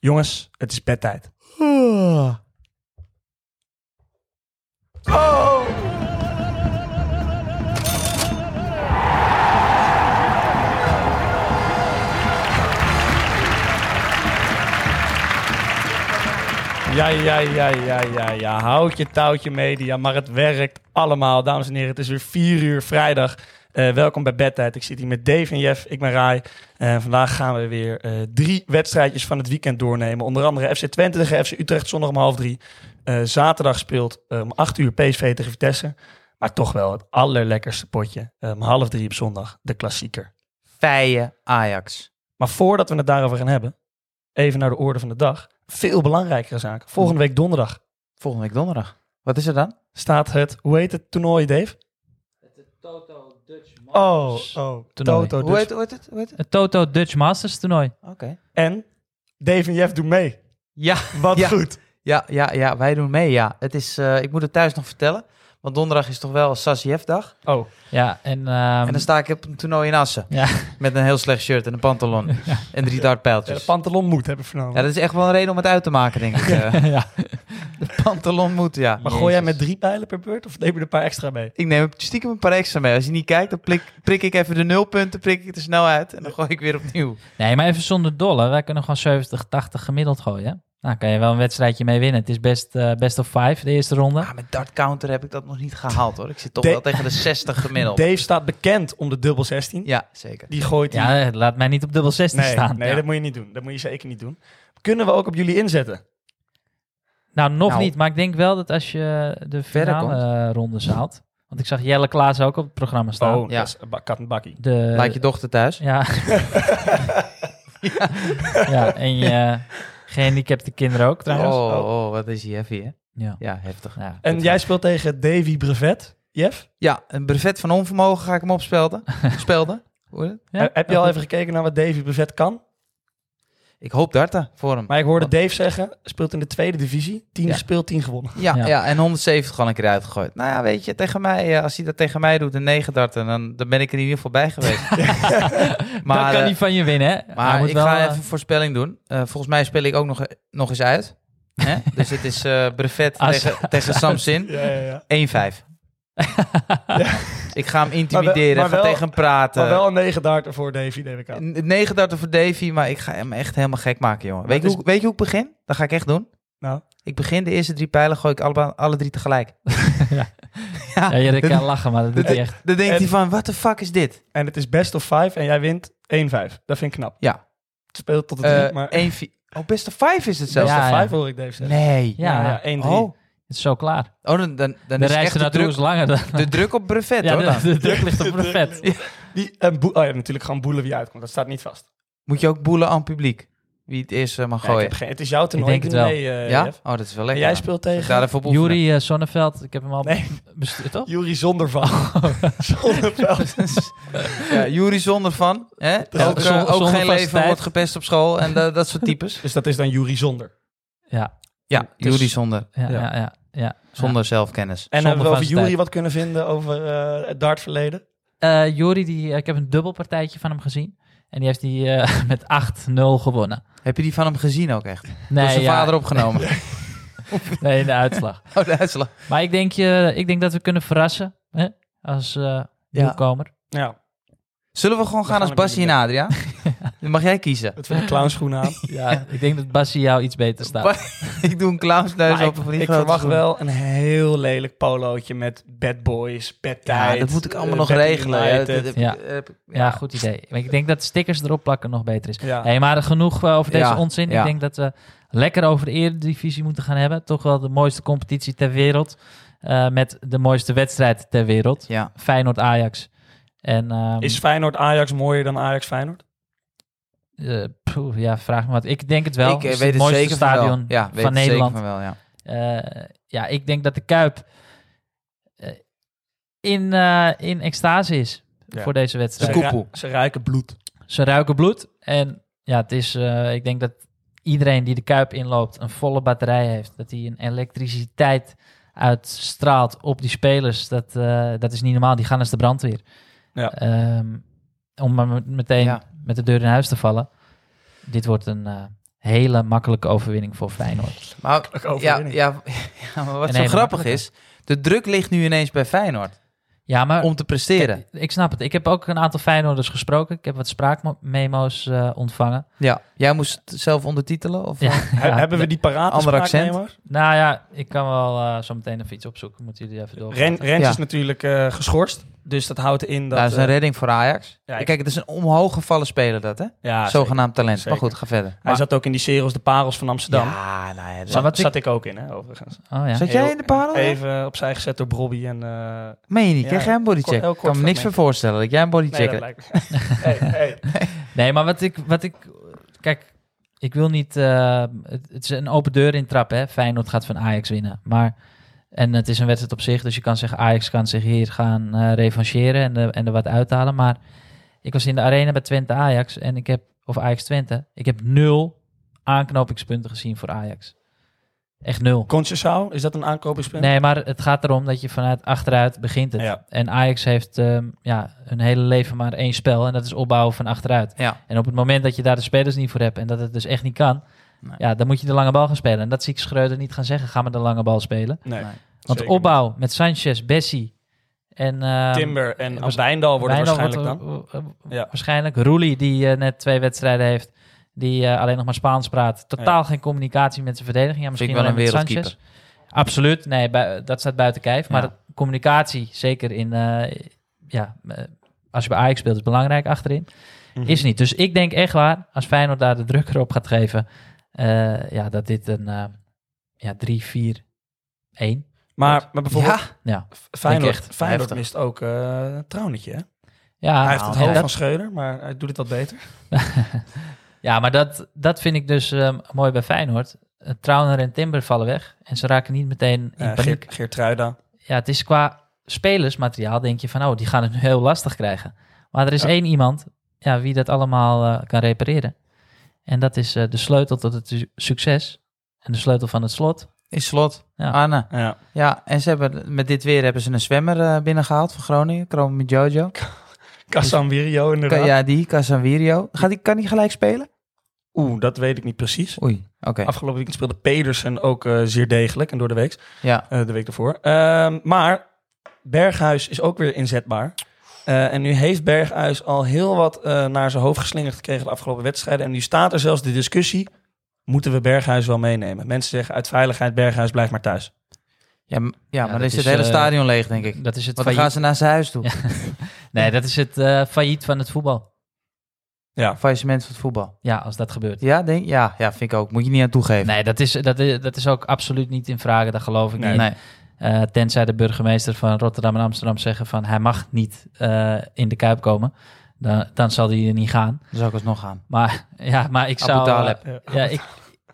Jongens, het is bedtijd. Oh! Ja, ja, ja, ja, ja, ja. Houd je touwtje media, maar het werkt allemaal. Dames en heren, het is weer 4 uur vrijdag. Eh, welkom bij Bedtijd. Ik zit hier met Dave en Jeff. Ik ben Rai. En Eh, vandaag gaan we weer eh, drie wedstrijdjes van het weekend doornemen. Onder andere FC Twente tegen FC Utrecht zondag om half drie. Eh, zaterdag speelt eh, om acht uur PSV tegen Vitesse. Maar toch wel het allerlekkerste potje. eh, Om half drie op zondag, de klassieker. Feien Ajax. Maar voordat we het daarover gaan hebben, even naar de orde van de dag. Veel belangrijkere zaak. Volgende week donderdag Volgende week donderdag. Wat is er dan? Oh, staat het, hoe heet het toernooi, Dave? Oh, oh, Toernooi. Toto. Hoe Dus. heet, hoe heet het? Hoe heet het? Het Toto Dutch Masters toernooi. Oké. En Dave en Jeff doen mee. Ja, Wat Ja. goed. ja, ja, ja, wij doen mee, ja. Het is, eh, ik moet het thuis nog vertellen, want donderdag is toch wel Sassiev-dag. Oh, Ja, en... ehm, en dan sta ik op een toernooi in Assen. Ja. Met een heel slecht shirt en een pantalon en drie ja, de dartpijltjes. Ja, Eh, pantalon moet, heb ik vernomen. dat is echt wel een reden om het uit te maken, denk ik. eh. ja. De pantalon moet, ja. maar gooi jij Jezus. met drie pijlen per beurt of neem je er een paar extra mee? Ik neem stiekem een paar extra mee. Als je niet kijkt, dan prik, prik ik even de nulpunten, prik ik er snel uit en dan gooi ik weer opnieuw. Nee, maar even zonder dolle. Wij kunnen gewoon 70, 80 gemiddeld gooien. hè? Nou, kan je wel een wedstrijdje mee winnen. Het is best, eh, best of five, de eerste ronde. Ah, met dart counter heb ik dat nog niet gehaald, hoor. Ik zit toch De- wel tegen de 60 gemiddeld. Dave staat bekend om de dubbel 16. Ja, zeker. Die gooit hij. Ja, eh, laat mij niet op dubbel 16 nee, staan. nee Ja. dat moet je niet doen. Dat moet je zeker niet doen. Kunnen we ook op jullie inzetten? Nou, nog Nou. niet. Maar ik denk wel dat als je de Verder finale eh, rondes haalt... Want ik zag Jelle Klaas ook op het programma staan. Oh, Ja. dat is een ba- kat en bakkie. De, Laat je dochter thuis. Ja. ja. en je gehandicapte kinderen ook trouwens. Oh, oh, wat is die heavy, hè? Ja. Ja, heftig. Ja. En jij speelt tegen Davy Brevet, Jeff? Ja, een brevet van onvermogen ga ik hem opspelden. Spelden. Hoor je het? Ja? Heb je al even gekeken naar wat Davy Brevet kan? Ik hoop darten voor hem. Maar ik hoorde Dave zeggen, speelt in de tweede divisie. 10 Ja. gespeeld, 10 gewonnen. Ja, ja. Ja. en 170 gewoon een keer uitgegooid. Nou ja, weet je, tegen mij, eh, als hij dat tegen mij doet en 9 darten, dan, dan ben ik er in ieder geval bij geweest. Maar, maar kan eh, niet van je winnen, hè? Hij maar moet ik wel, ga eh, even een voorspelling doen. Eh, volgens mij speel ik ook nog, nog eens uit. Hè? dus het is eh, brevet Als- tegen, tegen Samsin. 1-5. Ja, ja, ja. Ik ga hem intimideren, maar wel- ga tegen hem praten. Maar wel een 9 darter voor Davy, neem ik aan. 9 darten voor Davy, maar ik ga hem echt helemaal gek maken, jongen. Weet je, het is- hoe, weet je hoe ik begin? Dat ga ik echt doen. dus Nou. Ik begin de eerste drie pijlen, gooi ik alle, alle drie tegelijk. Ja. Ja, eh, ja, je dan- kan lachen, maar dat doet hij echt. Dan denkt En- hij van, what the fuck is dit? En het is best of 5 en jij wint 1-5. Dat vind ik knap. Ja. Het speelt tot de 3, Eh maar best één, vier- oh, best of five is het zelfs. Ja, of ja. 5 hoor ik Dave zeggen. Nee. Ja, ja, ja. 1-3. Oh, oh, Het is zo klaar. dan, dan, dan De is reis echt de ernaartoe druk, is langer dan... de druk op brevet, Ja, hoor. de, dan. de druk ligt op de vet. Die, en Boe- oh ja, natuurlijk gewoon boelen wie uitkomt. Dat staat niet vast. Moet je ook boelen aan publiek, wie het eerst eh, mag Nee, ik gooien. heb geen, het is jouw toernooi. Ik denk doe het wel. mee, eh, ja? Jeff. Oh, dat is wel En lekker. jij dan. speelt Ik tegen ga daarvoor boelen. Juri eh, Sonneveld, ik heb hem al Nee. bestuurd, toch? Jury zonder van. Oh. zonder Ja, Juri zonder van. Hè? Ja, ook eh, zonder- ook zonder geen leven, vastheid. wordt gepest op school en da- dat soort types. Dus dat is dan Jury zonder. Ja, Ja, Dus- Juri zonder, ja, Ja. ja. ja, ja, zonder zelfkennis. En Zonder hebben we over vastheid. Jury wat kunnen vinden over eh, het dartverleden? Eh, Juri, die, ik heb een dubbelpartijtje van hem gezien. En die heeft die eh, met 8-0 gewonnen. Heb je die van hem gezien ook echt? Nee, Door zijn ja, vader opgenomen. nee, de uitslag. Oh, de uitslag. Maar ik denk, je, ik denk dat we kunnen verrassen hè? als eh nieuwkomer. Ja, Zullen we gewoon We gaan gaan als hem Bassie en Adria? Dan mag jij kiezen. dat vind ik clownschoenen aan. Ja. ik denk dat Bassi jou iets beter staat. ik doe een clownsneus Maar op. ik, ik verwacht wel een heel lelijk polootje met bad boys, bad Ja, tijd. dat moet ik allemaal eh, nog Bad regelen. Ja, dat- United. dat- Ja. heb ik- Ja, goed idee. Maar ik denk dat stickers erop plakken nog beter is. Ja. Hey, maar genoeg eh, over deze Ja, onzin. ja. Ik denk dat we lekker over de Eredivisie moeten gaan hebben. Toch wel de mooiste competitie ter wereld. eh, met de mooiste wedstrijd ter wereld. Ja. Feyenoord-Ajax. En, ehm, Is Feyenoord-Ajax mooier dan Ajax-Feyenoord? eh, poeh, ja, vraag me wat. Ik denk het wel. ik eh, Het is weet het het mooiste zeker van wel. stadion ja, weet van het zeker Nederland. van wel, ja. Eh, ja, ik denk dat de Kuip eh, in, eh, in extase is Ja. voor deze Ze, wedstrijd. koep- ru- koepel. ze ruiken bloed. Ze ruiken bloed. En ja, het is, eh, ik denk dat iedereen die de Kuip inloopt een volle batterij heeft. Dat hij een elektriciteit uitstraalt op die spelers. Dat, eh, dat is niet normaal. Die gaan als de brandweer. Ja. Ehm, om maar met- meteen Ja. met de deur in huis te vallen. Dit wordt een eh, hele makkelijke overwinning voor Feyenoord. Maar, ja, overwinning. ja, ja, maar wat Een zo hele grappig makkelijke. is, de druk ligt nu ineens bij Feyenoord Ja, maar om te presteren. Kijk, Ik snap het. Ik heb ook een aantal Feyenoorders gesproken. Ik heb wat spraakmemo's eh, ontvangen. Ja, jij moest het zelf ondertitelen? Of, Ja, He- ja. Hebben we die paraat? Ander accent. spraaknemers? Nou ja, ik kan wel eh, zo meteen even iets opzoeken. Moeten jullie even door. Ren, Rens Ja. is natuurlijk eh, geschorst. Dus dat houdt in dat... Dat is een eh, redding voor Ajax. ja, ik- Kijk, het is een omhoog gevallen speler dat, hè? ja, zeker. Zogenaamd talent. Zeker. Maar goed, ga verder. Hij Maar- zat ook in die series De Parels van Amsterdam. Ja, nou ja, dat- Zat, wat ik- zat ik ook in, hè, overigens. Oh ja. Zat jij in de parel? Even opzij gezet door Bobby en... eh, Meen je niet? Ja, Krijg jij een bodycheck? kort- heel Ik kan kort me niks meer fragment. voorstellen dat jij een nee, bodycheck dat hebt. lijkt me... hey, hey. Nee, maar wat ik... Wat ik kijk, ik wil niet... eh, het, het is een open deur intrap, hè. Feyenoord gaat van Ajax winnen. Maar... En het is een wedstrijd op zich, dus je kan zeggen... Ajax kan zich hier gaan eh revancheren en, er- en er wat uithalen. Maar ik was in de arena bij Twente Ajax en ik heb... Of Ajax Twente. Ik heb nul aanknopingspunten gezien voor Ajax. Echt nul. Conceição, is dat een aankopingspunt? Nee, maar het gaat erom dat je vanuit achteruit begint het. Ja. En Ajax heeft ehm, ja, hun hele leven maar één spel en dat is opbouwen van achteruit. Ja. En op het moment dat je daar de spelers niet voor hebt en dat het dus echt niet kan, Nee. ja, dan moet je de lange bal gaan spelen. En dat zie ik Schreuder niet gaan zeggen, ga maar de lange bal spelen. Nee, Want Want zeker opbouw met Sanchez, Bessie en... ehm, niet. Timber en was- Wijndal worden Wijndal waarschijnlijk wordt dan. er- w- w- Ja. Waarschijnlijk. Roelie, die eh, net twee wedstrijden heeft, die eh, alleen nog maar Spaans praat. Totaal geen communicatie met zijn verdediging. Ja, Vind ik misschien wel alleen een met wereldkeeper. Sanchez. Absoluut. Nee, bui- dat staat buiten kijf. Maar Ja. dat- communicatie, zeker in... eh, ja, eh, als je bij Ajax speelt, is belangrijk achterin. Mhm. Is niet. Dus ik denk echt waar, als Feyenoord daar de druk erop gaat geven... eh, ja, dat dit een eh, ja, 3, 4, 1... Maar, maar bijvoorbeeld Ja, Feyenoord, echt Feyenoord heftig. mist ook eh Traunetje. Hè? ja hij heeft het en hoofd dat- van Schreuder, maar hij doet het wat beter. Ja, maar dat, dat vind ik dus ehm, mooi bij Feyenoord. Eh, Trauner en Timber vallen weg en ze raken niet meteen in Eh paniek. Geert, Geertruida. Ja, het is qua spelersmateriaal denk je van, oh, die gaan het nu heel lastig krijgen. Maar er is Ja. één iemand ja, wie dat allemaal eh, kan repareren. En dat is eh, de sleutel tot het su- succes en de sleutel van het slot. Is slot. Ja. Anne. Ja. Ja, en ze hebben, met dit weer hebben ze een zwemmer eh, binnengehaald van Groningen. Kroon met Jojo. Kassan Virio Ka- inderdaad. ja, die. Casanvirio. Gaat die, kan die gelijk spelen? Oeh, dat weet ik niet precies. Oei. Oké. Afgelopen weekend speelde Pedersen ook eh, zeer degelijk en door de week. Ja. eh, de week ervoor. Ehm, maar Berghuis is ook weer inzetbaar. Eh, en nu heeft Berghuis al heel wat eh, naar zijn hoofd geslingerd gekregen de afgelopen wedstrijden. En nu staat er zelfs de discussie: moeten we Berghuis wel meenemen? Mensen zeggen uit veiligheid: Berghuis blijft maar thuis. Ja, m- ja, maar dat dan is het is, hele eh, stadion leeg, denk ik. Dat is het Want dan gaan failliet. ze naar zijn huis toe. Ja. Nee, dat is het eh, failliet van het voetbal. Faillissement van het voetbal. Ja, als dat gebeurt. Ja, denk, ja, ja, vind ik ook. Moet je niet aan toegeven. Nee, dat is, dat, is, dat is ook absoluut niet in vragen. Daar geloof ik Nee. niet. Eh, tenzij de burgemeester van Rotterdam en Amsterdam zeggen van hij mag niet eh, in de Kuip komen. Dan, dan zal hij er niet gaan. Dan zou ik alsnog gaan. Maar, ja, maar ik zou, eh, Taleb. Ja. ja, ik,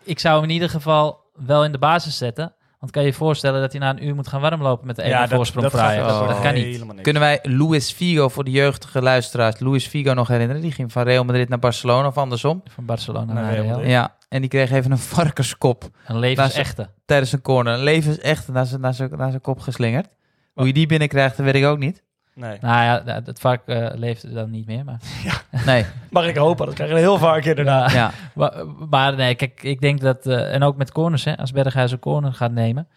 ik zou hem in ieder geval wel in de basis zetten. Want kan je je voorstellen dat hij na een uur moet gaan warmlopen met de ene Ja, dat- voorsprong dat voor gaat- Ajax? dat wordt dat kan niet. helemaal niks. Kunnen wij Luis Figo voor de jeugdige luisteraars, Luis Figo nog herinneren? Die ging van Real Madrid naar Barcelona of andersom. Van Barcelona Nee, naar Real. helemaal Ja, en die kreeg even een varkenskop Een levensechte. Luister. tijdens een corner. Een leven is echt naar zijn, naar zijn, naar zijn kop geslingerd. Hoe je die binnenkrijgt, dat weet ik ook niet. Nee. Nou ja, dat- dat vark eh, leefde dan niet meer. Maar, Nee, Mag ik hopen, dat krijgen we heel vaak inderdaad. ja. Maar, maar nee, kijk, ik denk dat... eh, en ook met corners, hè. Als Berghuis een corner gaat nemen...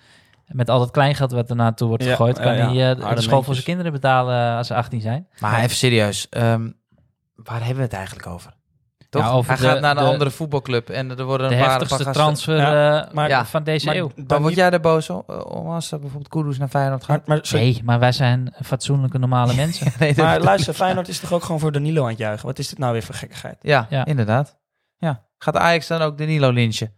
Met al dat kleingeld wat er naartoe wordt Ja, gegooid... ja, kan ja. hij Harde eh, de school voor muntjes. zijn kinderen betalen eh, als ze 18 zijn. Maar even serieus, ehm, waar hebben we het eigenlijk over? Toch? Ja, over Hij de- gaat naar een de- andere voetbalclub en er worden De een paar, heftigste paar gasten- transfer Ja, eh, maar- ja, van deze Maar, eeuw. Dan dan word niet, jij er boos om, eh, om als er bijvoorbeeld Kudus naar Feyenoord maar, gaat. maar, sorry. Nee, maar wij zijn fatsoenlijke normale mensen. Nee, dat- maar luister, Feyenoord is toch ook gewoon voor Danilo aan het juichen? Wat is dit nou weer voor gekkigheid? ja, Ja. inderdaad. Ja. Gaat Ajax dan ook Danilo lynchen?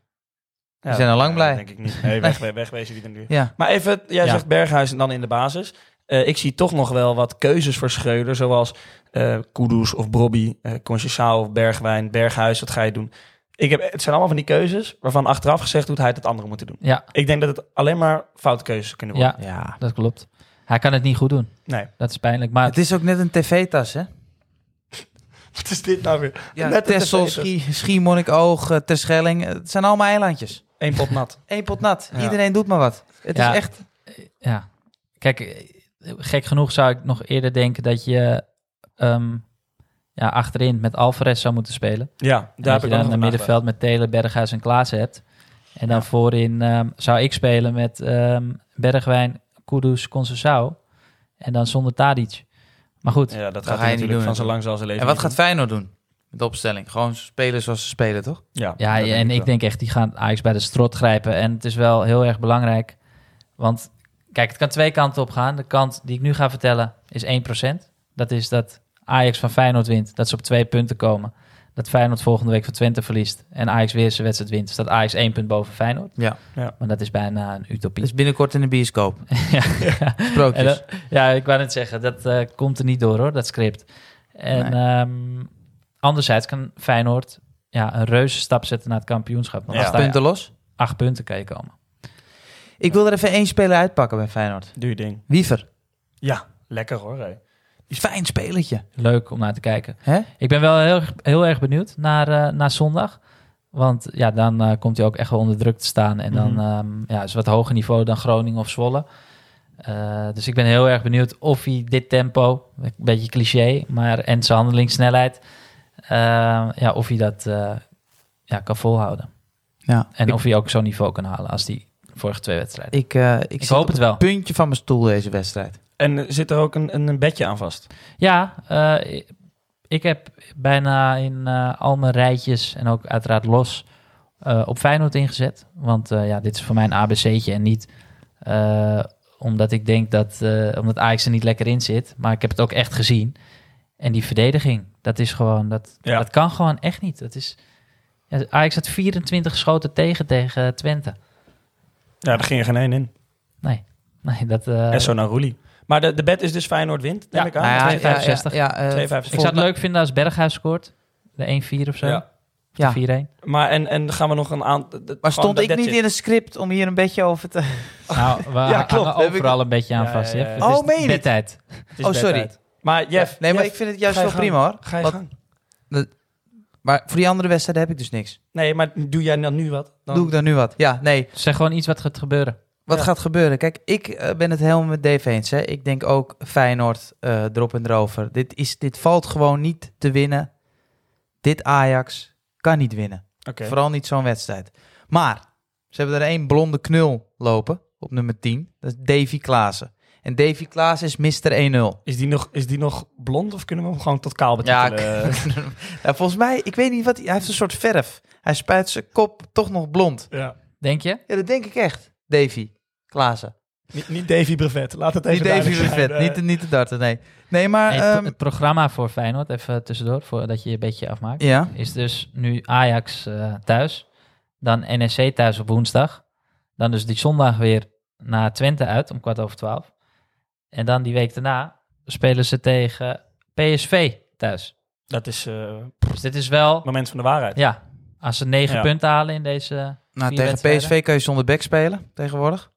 Ja, Die zijn al lang nee, blij. Denk ik niet. Nee, weg, weg- wegwezen die er nu. Ja. Maar even, jij Ja. zegt Berghuis en dan in de basis. Eh, ik zie toch nog wel wat keuzes voor Schreuder, zoals eh Kudus of Brobby, eh Conceição of Bergwijn, Berghuis, wat ga je doen? Ik heb, het zijn allemaal van die keuzes waarvan achteraf gezegd hoe hij het het andere moeten doen. ja, Ik denk dat het alleen maar foute keuzes kunnen worden. ja, ja. dat klopt. Hij kan het niet goed doen. Nee, Dat is pijnlijk. Maar Ah, Het is ook net een tv-tas, hè? wat is dit nou weer? Ja, Net een Tessel, tv-tas. Schie, Schiermonnikoog, eh, Terschelling. Het zijn allemaal eilandjes. Eén pot nat. Eén pot nat. Ja. Iedereen doet maar wat. Het Ja. is echt... ja, kijk, eh, gek genoeg zou ik nog eerder denken dat je ehm, ja, achterin met Alvarez zou moeten spelen. Ja, En daar heb dat ik je ook dan nog een middenveld met Telen, Berghuis en Klaassen hebt. En dan voorin ehm, zou ik spelen met ehm, Bergwijn, Kudus, Conceição. En dan zonder Tadic. Maar goed, Ja, dat gaat ga je hij niet natuurlijk doen, van zo lang zal zijn leven. En wat niet gaat Feyenoord doen? Met de opstelling. Gewoon spelen zoals ze spelen, toch? doen. Ja, Ja, dat en ik wel. denk echt, die gaan Ajax bij de strot grijpen. En het is wel heel erg belangrijk. Want kijk, het kan twee kanten op gaan. De kant die ik nu ga vertellen is 1%. Dat is dat Ajax van Feyenoord wint. Dat ze op twee punten komen. Dat Feyenoord volgende week van Twente verliest. En Ajax weer zijn wedstrijd wint. Dus dat Ajax één punt boven Feyenoord. Ja. Maar dat is bijna een utopie. Dus binnenkort in de bioscoop. ja. En Sprookjes. dat- ja, ik wou net zeggen, dat eh, komt er niet door hoor, dat script. En ehm, anderzijds kan Feyenoord ja, een reuze stap zetten naar het kampioenschap. Want Ja. dan Acht sta je punten los. acht punten kan je komen. Ik wil er even één speler uitpakken bij Feyenoord. Doe je ding. Wiever. Ja, lekker hoor. hé. Fijn spelertje. Leuk om naar te kijken. Hè? Ik ben wel heel, erg- heel erg benieuwd naar, eh, naar zondag. Want ja, dan eh, komt hij ook echt wel onder druk te staan. En dan Mhm. ehm, ja, is wat hoger niveau dan Groningen of Zwolle. Eh, dus ik ben heel erg benieuwd of hij dit tempo, een beetje cliché, maar en zijn handelingssnelheid, eh, ja, of hij dat eh, ja, kan volhouden. Ja. En ik, of hij ook zo'n niveau kan halen als die vorige twee wedstrijden. ik, eh, ik, Ik zit hoop op het wel. puntje van mijn stoel deze wedstrijd. En eh, zit er ook een, een een bedje aan vast? Ja, eh, ik heb bijna in eh, al mijn rijtjes en ook uiteraard los eh, op Feyenoord ingezet. Want eh, ja, dit is voor mij een ABC'tje en niet eh, omdat ik denk dat eh, omdat Ajax er niet lekker in zit. Maar ik heb het ook echt gezien. En die verdediging, dat is gewoon, dat, Ja. dat kan gewoon echt niet. Dat is, ja, Ajax had 24 geschoten tegen tegen Twente. Ja, er ging er geen één in. Nee, dat, eh, Esso Naruli. Maar de, de bet is dus Feyenoord wint, neem Ja. ik aan. Nou ja, 2,65. Ja, ja, ja, eh, 2,65. ik zou het leuk vinden als Berghuis scoort. De 1-4 of zo. Ja. ja. 4-1. Maar en, en gaan we nog een aantal... Maar stond ik niet in het script om hier een beetje over te... Nou, we hangen klopt. Heb ik- overal een beetje aan Ja, vast. ja, Jeff. ja. Het Oh, is meen je dit? bedtijd. Oh, sorry. Maar Jeff, nee, maar Jeff, ik vind het juist ga je wel prima hoor. ga je Want- gang. Maar voor die andere wedstrijden heb ik dus niks. Nee, maar doe jij dan nu wat? Dan... Doe ik dan nu wat? Ja, nee. Zeg gewoon iets wat gaat gebeuren. Wat Ja. gaat gebeuren? Kijk, ik eh, ben het helemaal met Dave eens. Hè. Ik denk ook Feyenoord eh, erop en erover. Dit, is, dit valt gewoon niet te winnen. Dit Ajax kan niet winnen. Oké. Vooral niet zo'n wedstrijd. Maar ze hebben er één blonde knul lopen op nummer 10. Dat is Davy Klaassen. En Davy Klaassen is Mr. 1-0. Is die, nog, is die nog blond of kunnen we hem gewoon tot kaal Ja, betitelen? Ja, Nou, volgens mij, ik weet niet wat... Hij heeft een soort verf. Hij spuit zijn kop toch nog blond. Denk je? Ja, dat denk ik echt. Davy Klaassen. Niet, niet Davy Brevet, laat het even Niet Davy duidelijk zijn. Vet, Eh, niet, de- niet de darten, nee. Nee, maar... Hey, het pro- ehm, het programma voor Feyenoord, even tussendoor, voordat je je bedje afmaakt, ja, is dus nu Ajax eh, thuis, dan NEC thuis op woensdag, dan dus die zondag weer naar Twente uit om kwart over twaalf. En dan die week daarna spelen ze tegen PSV thuis. Dat is eh, Dus dit is wel, het moment van de waarheid. ja, als ze negen Ja. punten halen in deze... nou, vier tegen wedstrijden. PSV kan je zonder back spelen tegenwoordig.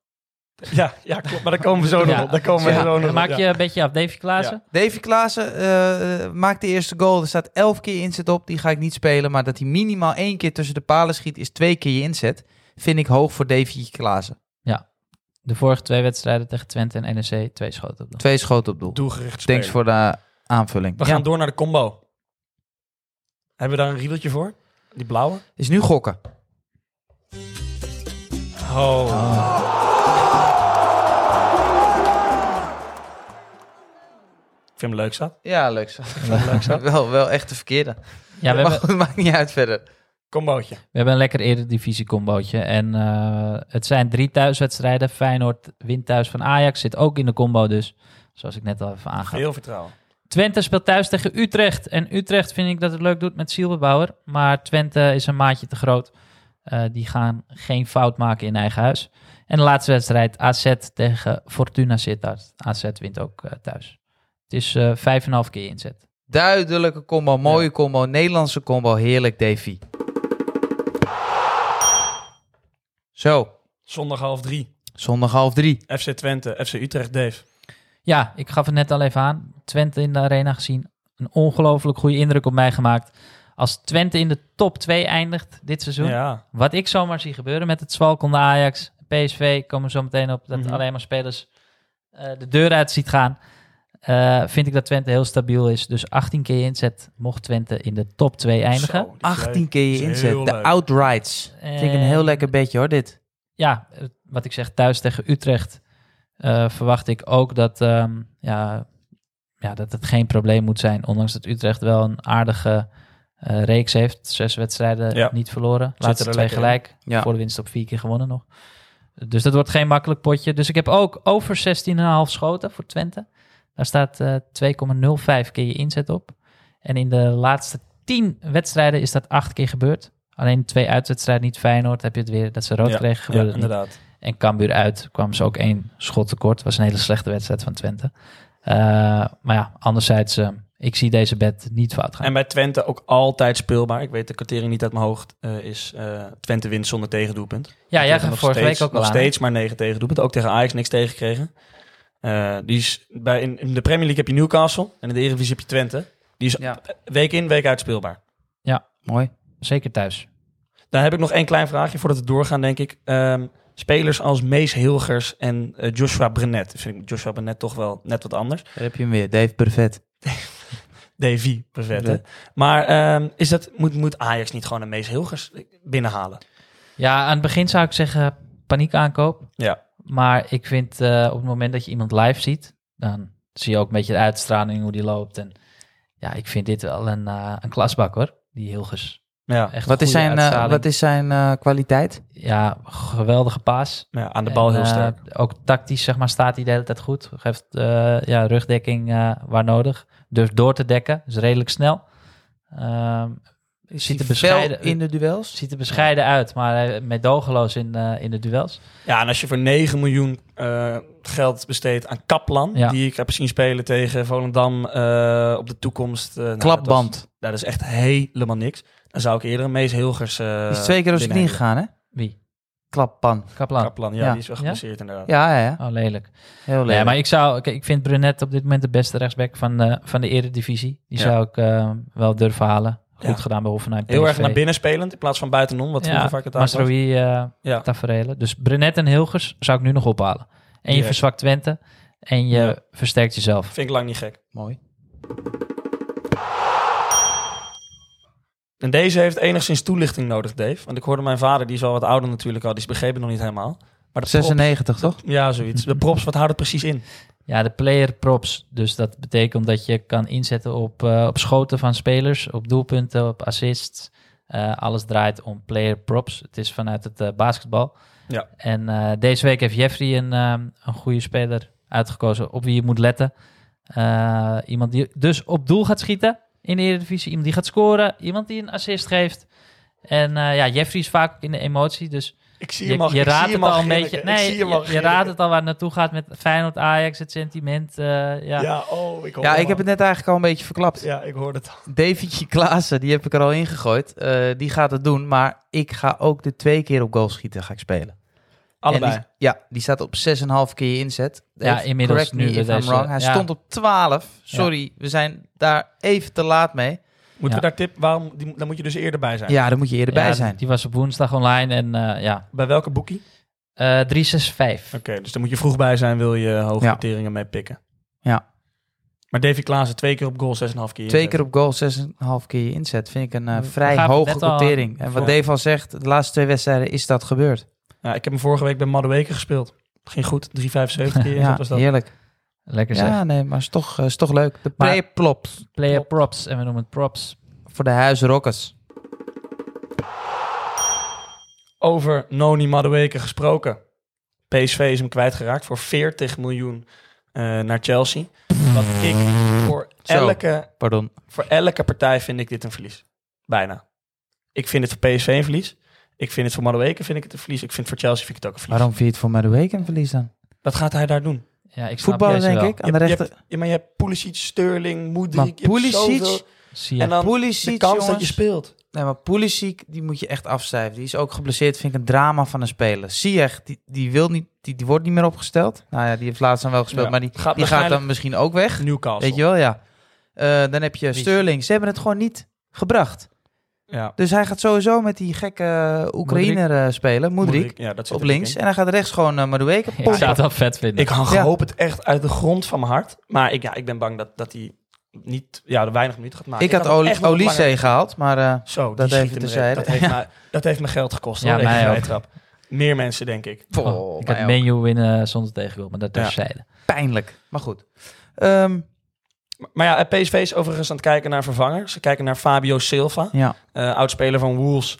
Ja, ja, klopt. Maar daar komen we zo nog Ja. op. Daar komen we Ja. zo nog Dan op, maak Oh, ja. je een beetje af. Davy Klaassen? Davy Klaassen eh, eh, maakt de eerste goal. Er staat elf keer inzet op. Die ga ik niet spelen. Maar dat hij minimaal één keer tussen de palen schiet, is twee keer je inzet. Vind ik hoog voor Davy Klaassen. De vorige twee wedstrijden tegen Twente en NEC, twee schoten op doel. Twee schoten op doel. Doelgericht spelen. Thanks voor de aanvulling. We Ja, gaan door naar de combo. Hebben we daar een riedeltje voor? Die blauwe? is nu gokken. Oh. Ik vind hem leuk, zat. Ja, leuk zo. Leuk, zat. wel, wel echt de verkeerde. Ja, we maar hebben, goed, maakt niet uit verder. Combootje. we hebben een lekker eredivisie-combootje. En eh, het zijn drie thuiswedstrijden. Feyenoord wint thuis van Ajax, zit ook in de combo dus. Zoals ik net al even aangaf. Veel vertrouwen. Twente speelt thuis tegen Utrecht. En Utrecht vind ik dat het leuk doet met Zielbebouwer. Maar Twente is een maatje te groot. Eh, die gaan geen fout maken in eigen huis. En de laatste wedstrijd, AZ tegen Fortuna Sittard. AZ wint ook eh, thuis. Het is eh, vijf en een half keer inzet. Duidelijke combo, mooie combo, Nederlandse combo. Heerlijk, Davy. Zo. Zondag half drie. Zondag half drie. FC Twente, FC Utrecht, Dave. Ja, ik gaf het net al even aan. Twente in de arena gezien. Een ongelooflijk goede indruk op mij gemaakt. Als Twente in de top 2 eindigt dit seizoen. Ja. Wat ik zomaar zie gebeuren met het zwalkende Ajax. PSV komen we zo meteen op. Dat Mhm. alleen maar spelers eh, de deur uit ziet gaan. Eh, eh, vind ik dat Twente heel stabiel is. Dus 18 keer inzet mocht Twente in de top 2 eindigen. Zo, die is 18 leuk. keer je Is heel inzet. De leuk. outrights. En- Vind ik een heel lekker beetje hoor, dit. Ja, eh, wat ik zeg, thuis tegen Utrecht eh, verwacht ik ook dat, ehm, ja, ja, dat het geen probleem moet zijn. Ondanks dat Utrecht wel een aardige eh, reeks heeft. Zes wedstrijden Ja. niet verloren. er Laatste twee lekker in. gelijk. Ja. Voor de winst op vier keer gewonnen nog. Dus dat wordt geen makkelijk potje. Dus ik heb ook over 16,5 schoten voor Twente. Daar staat eh, 2,05 keer je inzet op. En in de laatste 10 wedstrijden is dat 8 keer gebeurd. Alleen twee uitwedstrijden niet Feyenoord. Heb je het weer dat ze rood Ja, kregen. Ja, Gebeurde het niet. inderdaad. En Cambuur uit kwam ze ook één schot tekort. Was een hele slechte wedstrijd van Twente. Eh, maar ja, anderzijds, eh, ik zie deze bed niet fout gaan. En bij Twente ook altijd speelbaar. Ik weet de kwartering niet uit mijn hoofd. eh, is eh, Twente wint zonder tegendoelpunt. ja, jij Natuurlijk gaat nog vorige steeds- week ook al Nog aan. steeds maar negen tegendoelpunten. Ook tegen Ajax niks tegengekregen. Eh, die is bij, in, in de Premier League heb je Newcastle. En in de Eredivisie heb je Twente. Die is eh, Ja. week in, week uit speelbaar. Mooi. Zeker thuis. Dan heb ik nog één klein vraagje voordat we doorgaan, denk ik. Ehm, spelers als Mees Hilgers en eh, Joshua Brenet. Vind ik Joshua Brenet toch wel net wat anders. Daar heb je hem weer. Dave Brevet. Davy Brenet. hè? Maar ehm, is dat, moet, moet Ajax niet gewoon een Mees Hilgers binnenhalen? Ja, aan het begin zou ik zeggen paniek aankoop. Ja. Maar ik vind eh, op het moment dat je iemand live ziet, dan zie je ook een beetje de uitstraling hoe die loopt. En ja, ik vind dit wel een, eh, een klasbak hoor, die Hilgers. Ja. Echt een Wat is goede zijn, eh, uitstraling. wat is zijn eh, kwaliteit? Ja, geweldige paas. ja aan de bal En, heel eh, sterk. ook tactisch, zeg maar, staat hij de hele tijd goed. Geeft eh, ja, rugdekking eh, waar nodig. Durft door te dekken, is redelijk snel. Ehm, ziet, er Is hij bescheiden, Nou, fel in de duels? ziet er bescheiden uit, maar hij- meedogenloos in, eh, in de duels. Ja, en als je voor 9 miljoen eh, geld besteedt aan Kaplan, Ja. die ik heb zien spelen tegen Volendam eh, op de toekomst. eh, nou, Klapband. dat, is, dat is echt helemaal niks. Dan zou ik eerder een Mees Hilgers. eh, Die is twee keer op zijn knie binnenhalen. gegaan, hè? Wie? Klappan. Kaplan. Kaplan, ja, Ja. die is wel Ja? geblesseerd inderdaad. Ja, ja, ja. Oh, lelijk. Heel leuk. Nee, maar ik zou, kijk, ik vind Brunet op dit moment de beste rechtsback van, eh, van de Eredivisie. Die Ja. zou ik eh, wel durven halen. Goed Ja. gedaan bij Hoffenheim. Heel erg PSV. naar binnen spelend in plaats van buitenom, wat ja, vroeger vaak het aan was. Masraoui, eh Ja. Taferelen. Dus Brunet en Hilgers zou ik nu nog ophalen. En je Direct. verzwakt Twente en je Ja. versterkt jezelf. Vind ik lang niet gek. Mooi. En deze heeft enigszins toelichting nodig, Dave. Want ik hoorde mijn vader, die is al wat ouder natuurlijk al, die begreep het nog niet helemaal. Maar de props, 96, toch? ja, zoiets. De props, wat houdt het precies in? Ja, de player props. Dus dat betekent dat je kan inzetten op, eh, op schoten van spelers, op doelpunten, op assists. Eh, alles draait om player props. Het is vanuit het eh, basketbal. Ja. En eh, deze week heeft Jeffrey een, ehm, een goede speler uitgekozen op wie je moet letten. Eh, iemand die dus op doel gaat schieten in de Eredivisie. Iemand die gaat scoren. Iemand die een assist geeft. En eh, ja, Jeffrey is vaak in de emotie. Dus Ik zie je, je ik zie raadt het hem al een grinniken. beetje. Ik Nee, zie je, hem al je grinniken. raadt het al waar het naartoe gaat met Feyenoord, Ajax, het sentiment. eh, ja. Ja, oh, ik hoor Ja, hem ik heb al. het net eigenlijk al een beetje verklapt. Ja, ik hoorde het al. Davidje Klaassen, die heb ik er al ingegooid. gegooid. Eh, die gaat het doen, maar ik ga ook de twee keer op goal schieten ga ik spelen. Allebei. En die- ja, die staat op 6,5 keer je inzet. Ja, Dave, inmiddels correct nu me weer if I'm deze- wrong. Hij ja. stond op 12. Sorry, we zijn daar even te laat mee. Moeten Ja. we daar tip? Waarom? Die, daar moet je dus eerder bij zijn. Ja, daar moet je eerder bij Ja, zijn. Die was op woensdag online en eh, ja, Bij welke boekie? Eh 365. Oké, dus daar moet je vroeg bij zijn, wil je hoge Ja. noteringen mee pikken. Ja. Maar Davy Klaassen twee keer op goal, 6,5 keer. Twee inzet. keer op goal, 6,5 keer je inzet. Vind ik een eh, We vrij gaven hoge het net al quotering. En wat voor. Dave al zegt, de laatste twee wedstrijden is dat gebeurd. Ja, ik heb hem vorige week bij Madueke gespeeld. Ging goed, 3,75 keer. Ja, inzet was dat. heerlijk. Lekker zeg. Ja, nee, maar is toch, eh, is toch leuk. De Maar- pre-plops Player props en we noemen het props. voor de huis Rockets. Over Noni Madueke gesproken. PSV is hem kwijtgeraakt voor 40 miljoen eh, naar Chelsea. Wat ik voor Zo. elke, Pardon. voor elke partij vind ik dit een verlies. Bijna. Ik vind het voor PSV een verlies. Ik vind het voor Madueke vind ik het een verlies. Ik vind het voor Chelsea vind ik het ook een verlies. Waarom vind je het voor Madueke een verlies dan? Wat gaat hij daar doen? Ja, ik snap Voetballen deze denk wel. ik. Je Aan de hebt- je rechter. Ja, maar je hebt Pulisic, Sterling, Maar Moedrik. Pulisic, Zie je. En dan Pulisic, de kans dat je jongens. speelt. nee, maar Pulisic, die moet je echt afschrijven. Die is ook geblesseerd, vind ik een drama van een speler. Ziyech, die, die, wil niet, die, die wordt niet meer opgesteld. Nou ja, die heeft laatst dan wel gespeeld, Ja. maar die, Gaat die gaat waarschijnlijk- dan misschien ook weg. Newcastle. Weet je wel, ja. Eh, dan heb je Sterling. Ze hebben het gewoon niet gebracht. Ja. Dus hij gaat sowieso met die gekke Oekraïner eh, spelen, Moedrik, Ja, dat zit op er dik links. in. En hij gaat rechts gewoon uh, Madueke Ik pompen. zou dat vet vinden. Ik Ja. hoop het echt uit de grond van mijn hart. Maar ik, ja, ik ben bang dat, dat hij niet, ja, er weinig minuten gaat maken. ik had hem echt Oli- nog Olise langer- Oh, gehaald, maar eh, Zo, Dat dat even heeft, terzijde. dat, heeft mij, dat heeft me geld gekost. Ja, hoor, deze mij ook. vrijtrap. Meer mensen, denk ik. poh, Oh, ik mij had ook. menu winnen eh, zonder tegengoal, maar dat Oh, Ja. terzijde. pijnlijk. Maar goed. Ehm, Maar- Maar ja, PSV is overigens aan het kijken naar vervangers. Ze kijken naar Fabio Silva, ja. eh oudspeler van Wolves.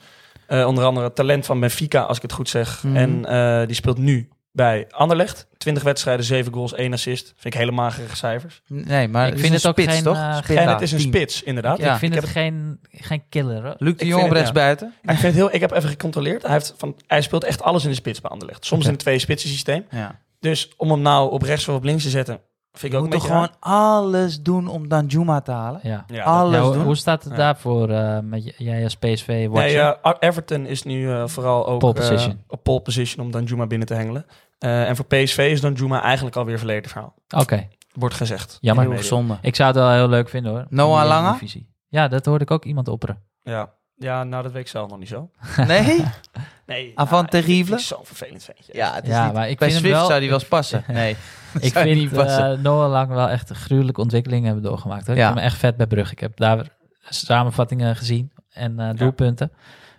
Eh, onder andere talent van Benfica, als ik het goed zeg. Mhm. En eh, die speelt nu bij Anderlecht. 20 wedstrijden, 7 goals, 1 assist. Vind ik hele magere cijfers. Nee, maar Ik het vind is het een ook spits, geen, toch? eh, Spits, en ja, het is een tien. spits, inderdaad. Ja, ik vind ik het geen, geen killer. hoor. Luc de Ik Jong op vind het, ja. rechtsbuiten. Ik vind het heel, ik heb even gecontroleerd. Hij, heeft van, hij speelt echt alles in de spits bij Anderlecht. Soms Oké. in het twee spitsen systeem. Ja. Dus om hem nou op rechts of op links te zetten, vind ik We ook een moeten beetje gewoon alles doen om Danjuma te halen. Ja. raar. Ja, dat- alles Ja, hoe, doen. hoe staat het Ja. daarvoor eh, met j- jij als PSV-watcher? Nee, eh, Everton is nu eh, vooral ook Pole eh, position. op pole position om Danjuma binnen te hengelen. Eh, en voor PSV is Danjuma eigenlijk alweer verleden verhaal. Oké, Wordt gezegd. jammer. Heel gezond. zonde. Ik zou het wel heel leuk vinden hoor. Noah Die Lange? Eredivisie. Ja, dat hoorde ik ook iemand opperen. Ja. ja, nou dat weet ik zelf nog niet zo. Nee? Nee, Ah, Avant nou, ik terrible? vind het zo'n vervelend ventje. Ja, het is Ja, niet- maar ik bij vind hem Swift wel- zou die wel eens passen. Nee, Ik zou vind niet passen. eh, Noah Lang wel echt een gruwelijke ontwikkeling hebben doorgemaakt. Hoor. Ja. Ik vind hem echt vet bij Brugge. Ik heb daar samenvattingen gezien en eh, doelpunten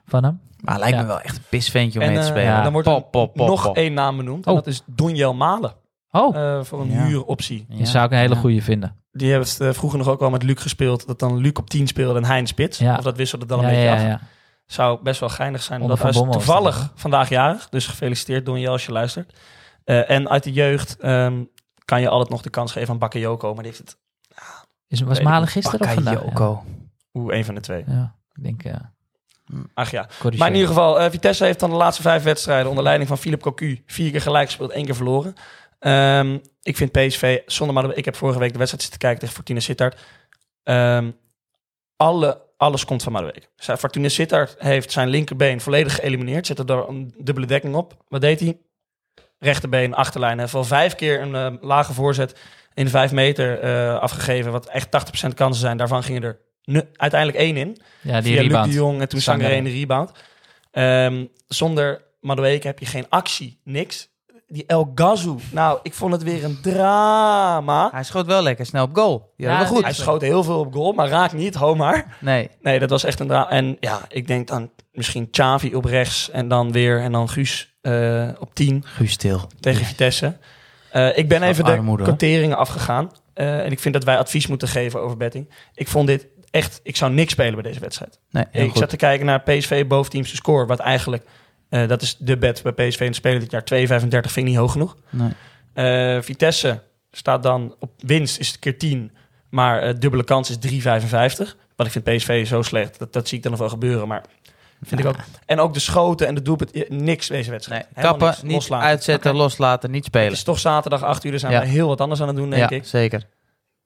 van hem. maar hij lijkt ja. me wel echt een pisventje om En mee te eh, spelen. ja. dan wordt er Pop, pop, pop, nog pop. één naam benoemd. En Oh. dat is Donjel Malen. Oh, eh, voor een Ja. huuroptie. Ja. die zou ik een hele Ja. goede vinden. Die hebben het eh, vroeger nog ook wel met Luc gespeeld. Dat dan Luc op 10 speelde en hij in de spits. Ja. Of dat wisselde dan Ja, een beetje ja, af. ja. Zou best wel geinig zijn. Onder Omdat hij is Van Bommel was toevallig dat, vandaag jarig. Dus gefeliciteerd Donjel als je luistert. Eh, en uit de jeugd ehm, kan je altijd nog de kans geven aan Bakayoko. Maar die heeft het Is, was Weet Malen ik gisteren of vandaag? Bakayoko. hoe een van de twee. Ja. Ja, ik denk... eh Ach ja. corrigeer. Maar in ieder geval, eh, Vitesse heeft dan de laatste vijf wedstrijden onder leiding van Philip Cocu vier keer gelijk gespeeld, één keer verloren. Ehm, ik vind PSV, zonder maar ik heb vorige week de wedstrijd zitten kijken tegen Fortuna Sittard. Ehm, alle, alles komt van Madueke. Zij- Fortuna Sittard heeft zijn linkerbeen volledig geëlimineerd. Zette er een dubbele dekking op. Wat deed hij? Rechterbeen, achterlijn. Hij heeft al vijf keer een eh, lage voorzet in de vijf meter eh, afgegeven. Wat echt 80% kansen zijn. Daarvan gingen er nu, uiteindelijk één in. Ja, die Via Luc rebound. de Jong en toen Sangaré in Sangaré. de rebound. Ehm, zonder Madueke heb je geen actie, niks. Die El Gazou, nou, ik vond het weer een drama. Hij schoot wel lekker snel op goal. Ja, Ja, maar goed. Hij schoot heel veel op goal, maar raakt niet, Homaar. Nee. Nee, dat was echt een drama. En ja, ik denk dan misschien Xavi op rechts en dan weer en dan Guus eh, op 10 Guus stil. tegen Vitesse. Eh, ik ben Wat even de armoede, hè? quoteringen afgegaan. Eh, en ik vind dat wij advies moeten geven over betting. Ik vond dit echt... Ik zou niks spelen bij deze wedstrijd. Nee, heel ik goed. zat te kijken naar PSV boven teams te scoren. Wat eigenlijk, eh, dat is de bet bij PSV in het spelen dit jaar. 2,35 vind ik niet hoog genoeg. Nee. Eh, Vitesse staat dan op winst is het keer 10. Maar eh, dubbele kans is 3,55. Want ik vind PSV zo slecht. Dat, dat zie ik dan nog wel gebeuren. Maar vind ik ook. En ook de schoten en de doelpunt. eh, Niks deze wedstrijd. Nee, Helemaal kappen, niks. niet Loslaten. uitzetten, loslaten, niet Het spelen. is toch zaterdag 8 uur. Dan zijn Ja. we heel wat anders aan het doen, denk ja, ik. zeker.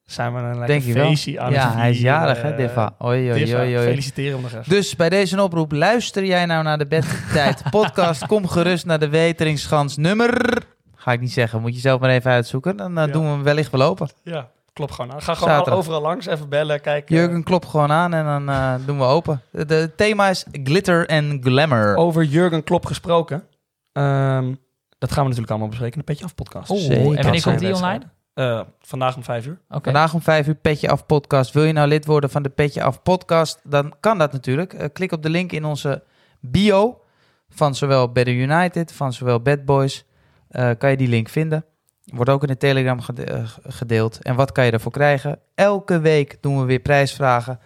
Zijn we een lekker Denk je wel. feestje aan Ja, het hij is vieren, jarig, hè, eh, Diva. Oei, oei, Diffa, oei, oei. Feliciteren hem nog even. Dus bij deze oproep, luister jij nou naar de Bedtijd podcast? Kom gerust naar de Weteringsschans nummer... Ga ik niet zeggen, moet je zelf maar even uitzoeken. Dan eh, Ja. doen we hem wellicht belopen. Ja, klopt gewoon aan. Ga gewoon al- Zaterdag. overal langs, even bellen, kijken. Jurgen klopt gewoon aan en dan eh, doen we open. Het eh, thema is glitter en glamour. Over Jurgen Klopp gesproken. Ehm, dat gaan we natuurlijk allemaal bespreken in de Petje Af podcast. Oeh, Zeker. Oh, en wanneer Dat zijn komt die wedstrijden. online? Eh, vandaag om vijf uur. Oké. Vandaag om 5 uur Petje Af podcast. Wil je nou lid worden van de Petje Af podcast? Dan kan dat natuurlijk. Eh, klik op de link in onze bio van zowel Better United, van zowel Bad Boys. Eh, kan je die link vinden. Wordt ook in de Telegram gede- eh, gedeeld. En wat kan je daarvoor krijgen? Elke week doen we weer prijsvragen.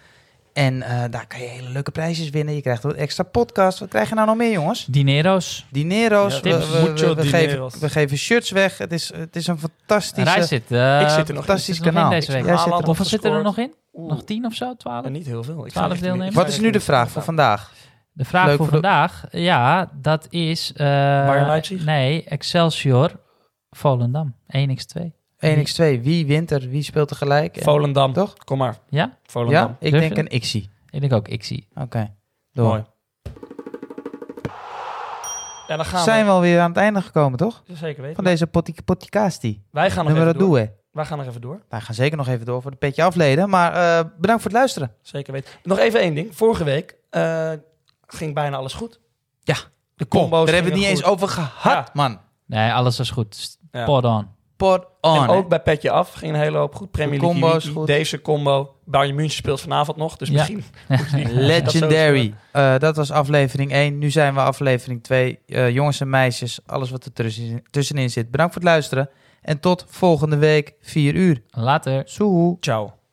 En eh, daar kan je hele leuke prijsjes winnen. Je krijgt wat extra podcast. Wat krijg je nou nog meer, jongens? Dinero's. Dinero's. Ja, we, tips. we- we- Mucho we geven, dineros. we geven shirts weg. Het is, het is een Rij fantastische, zit. eh, ik zit er nog in. fantastisch zit er nog kanaal. in deze week. Jij zit er- Haaland Hoeveel zitten er gescoord. nog in? Oeh, Nog tien of zo? Twaalf? eh, niet heel veel. Ik Twaalf ga echt deelnemers. niet- ik ga Wat is echt nu de niet- vraag voor vandaag? De vraag Leuk voor voor de- vandaag, ja, dat is... eh, Bayern Leipzig? Nee, Excelsior, Volendam, 1x2. 1x2, wie wint er? Wie speelt er gelijk? En- Volendam. Toch? Kom maar, Ja, Volendam. Ja, ik Durf denk je? een Xie. ik denk ook Xie. Oké, door. Mooi. Ja, dan gaan Zijn we. we alweer aan het einde gekomen, toch? Ja, Zeker weten. Van deze potti- potticasti. Wij gaan nog Nummer even door. due. Wij gaan nog even door. Wij gaan zeker nog even door voor de petje afleden. Maar eh, bedankt voor het luisteren. Zeker weten. Nog even één ding. Vorige week eh, ging bijna alles goed. Ja, de Kom, daar combo's. hebben we het niet gingen eens goed. over gehad, Ja. man. Nee, alles is goed. Ja. Spot on. Pot En on. ook bij Petje Af ging een hele hoop goed. Premier League, combo is Wiki, goed. deze combo. Bayern München speelt vanavond nog, dus Ja. misschien... moet je die- dat zo Legendary. stellen. Eh, dat was aflevering 1. Nu zijn we aflevering 2. Eh, jongens en meisjes, alles wat er tussen- tussenin zit. Bedankt voor het luisteren. En tot volgende week, 4 uur. Later. Soehoe. Ciao.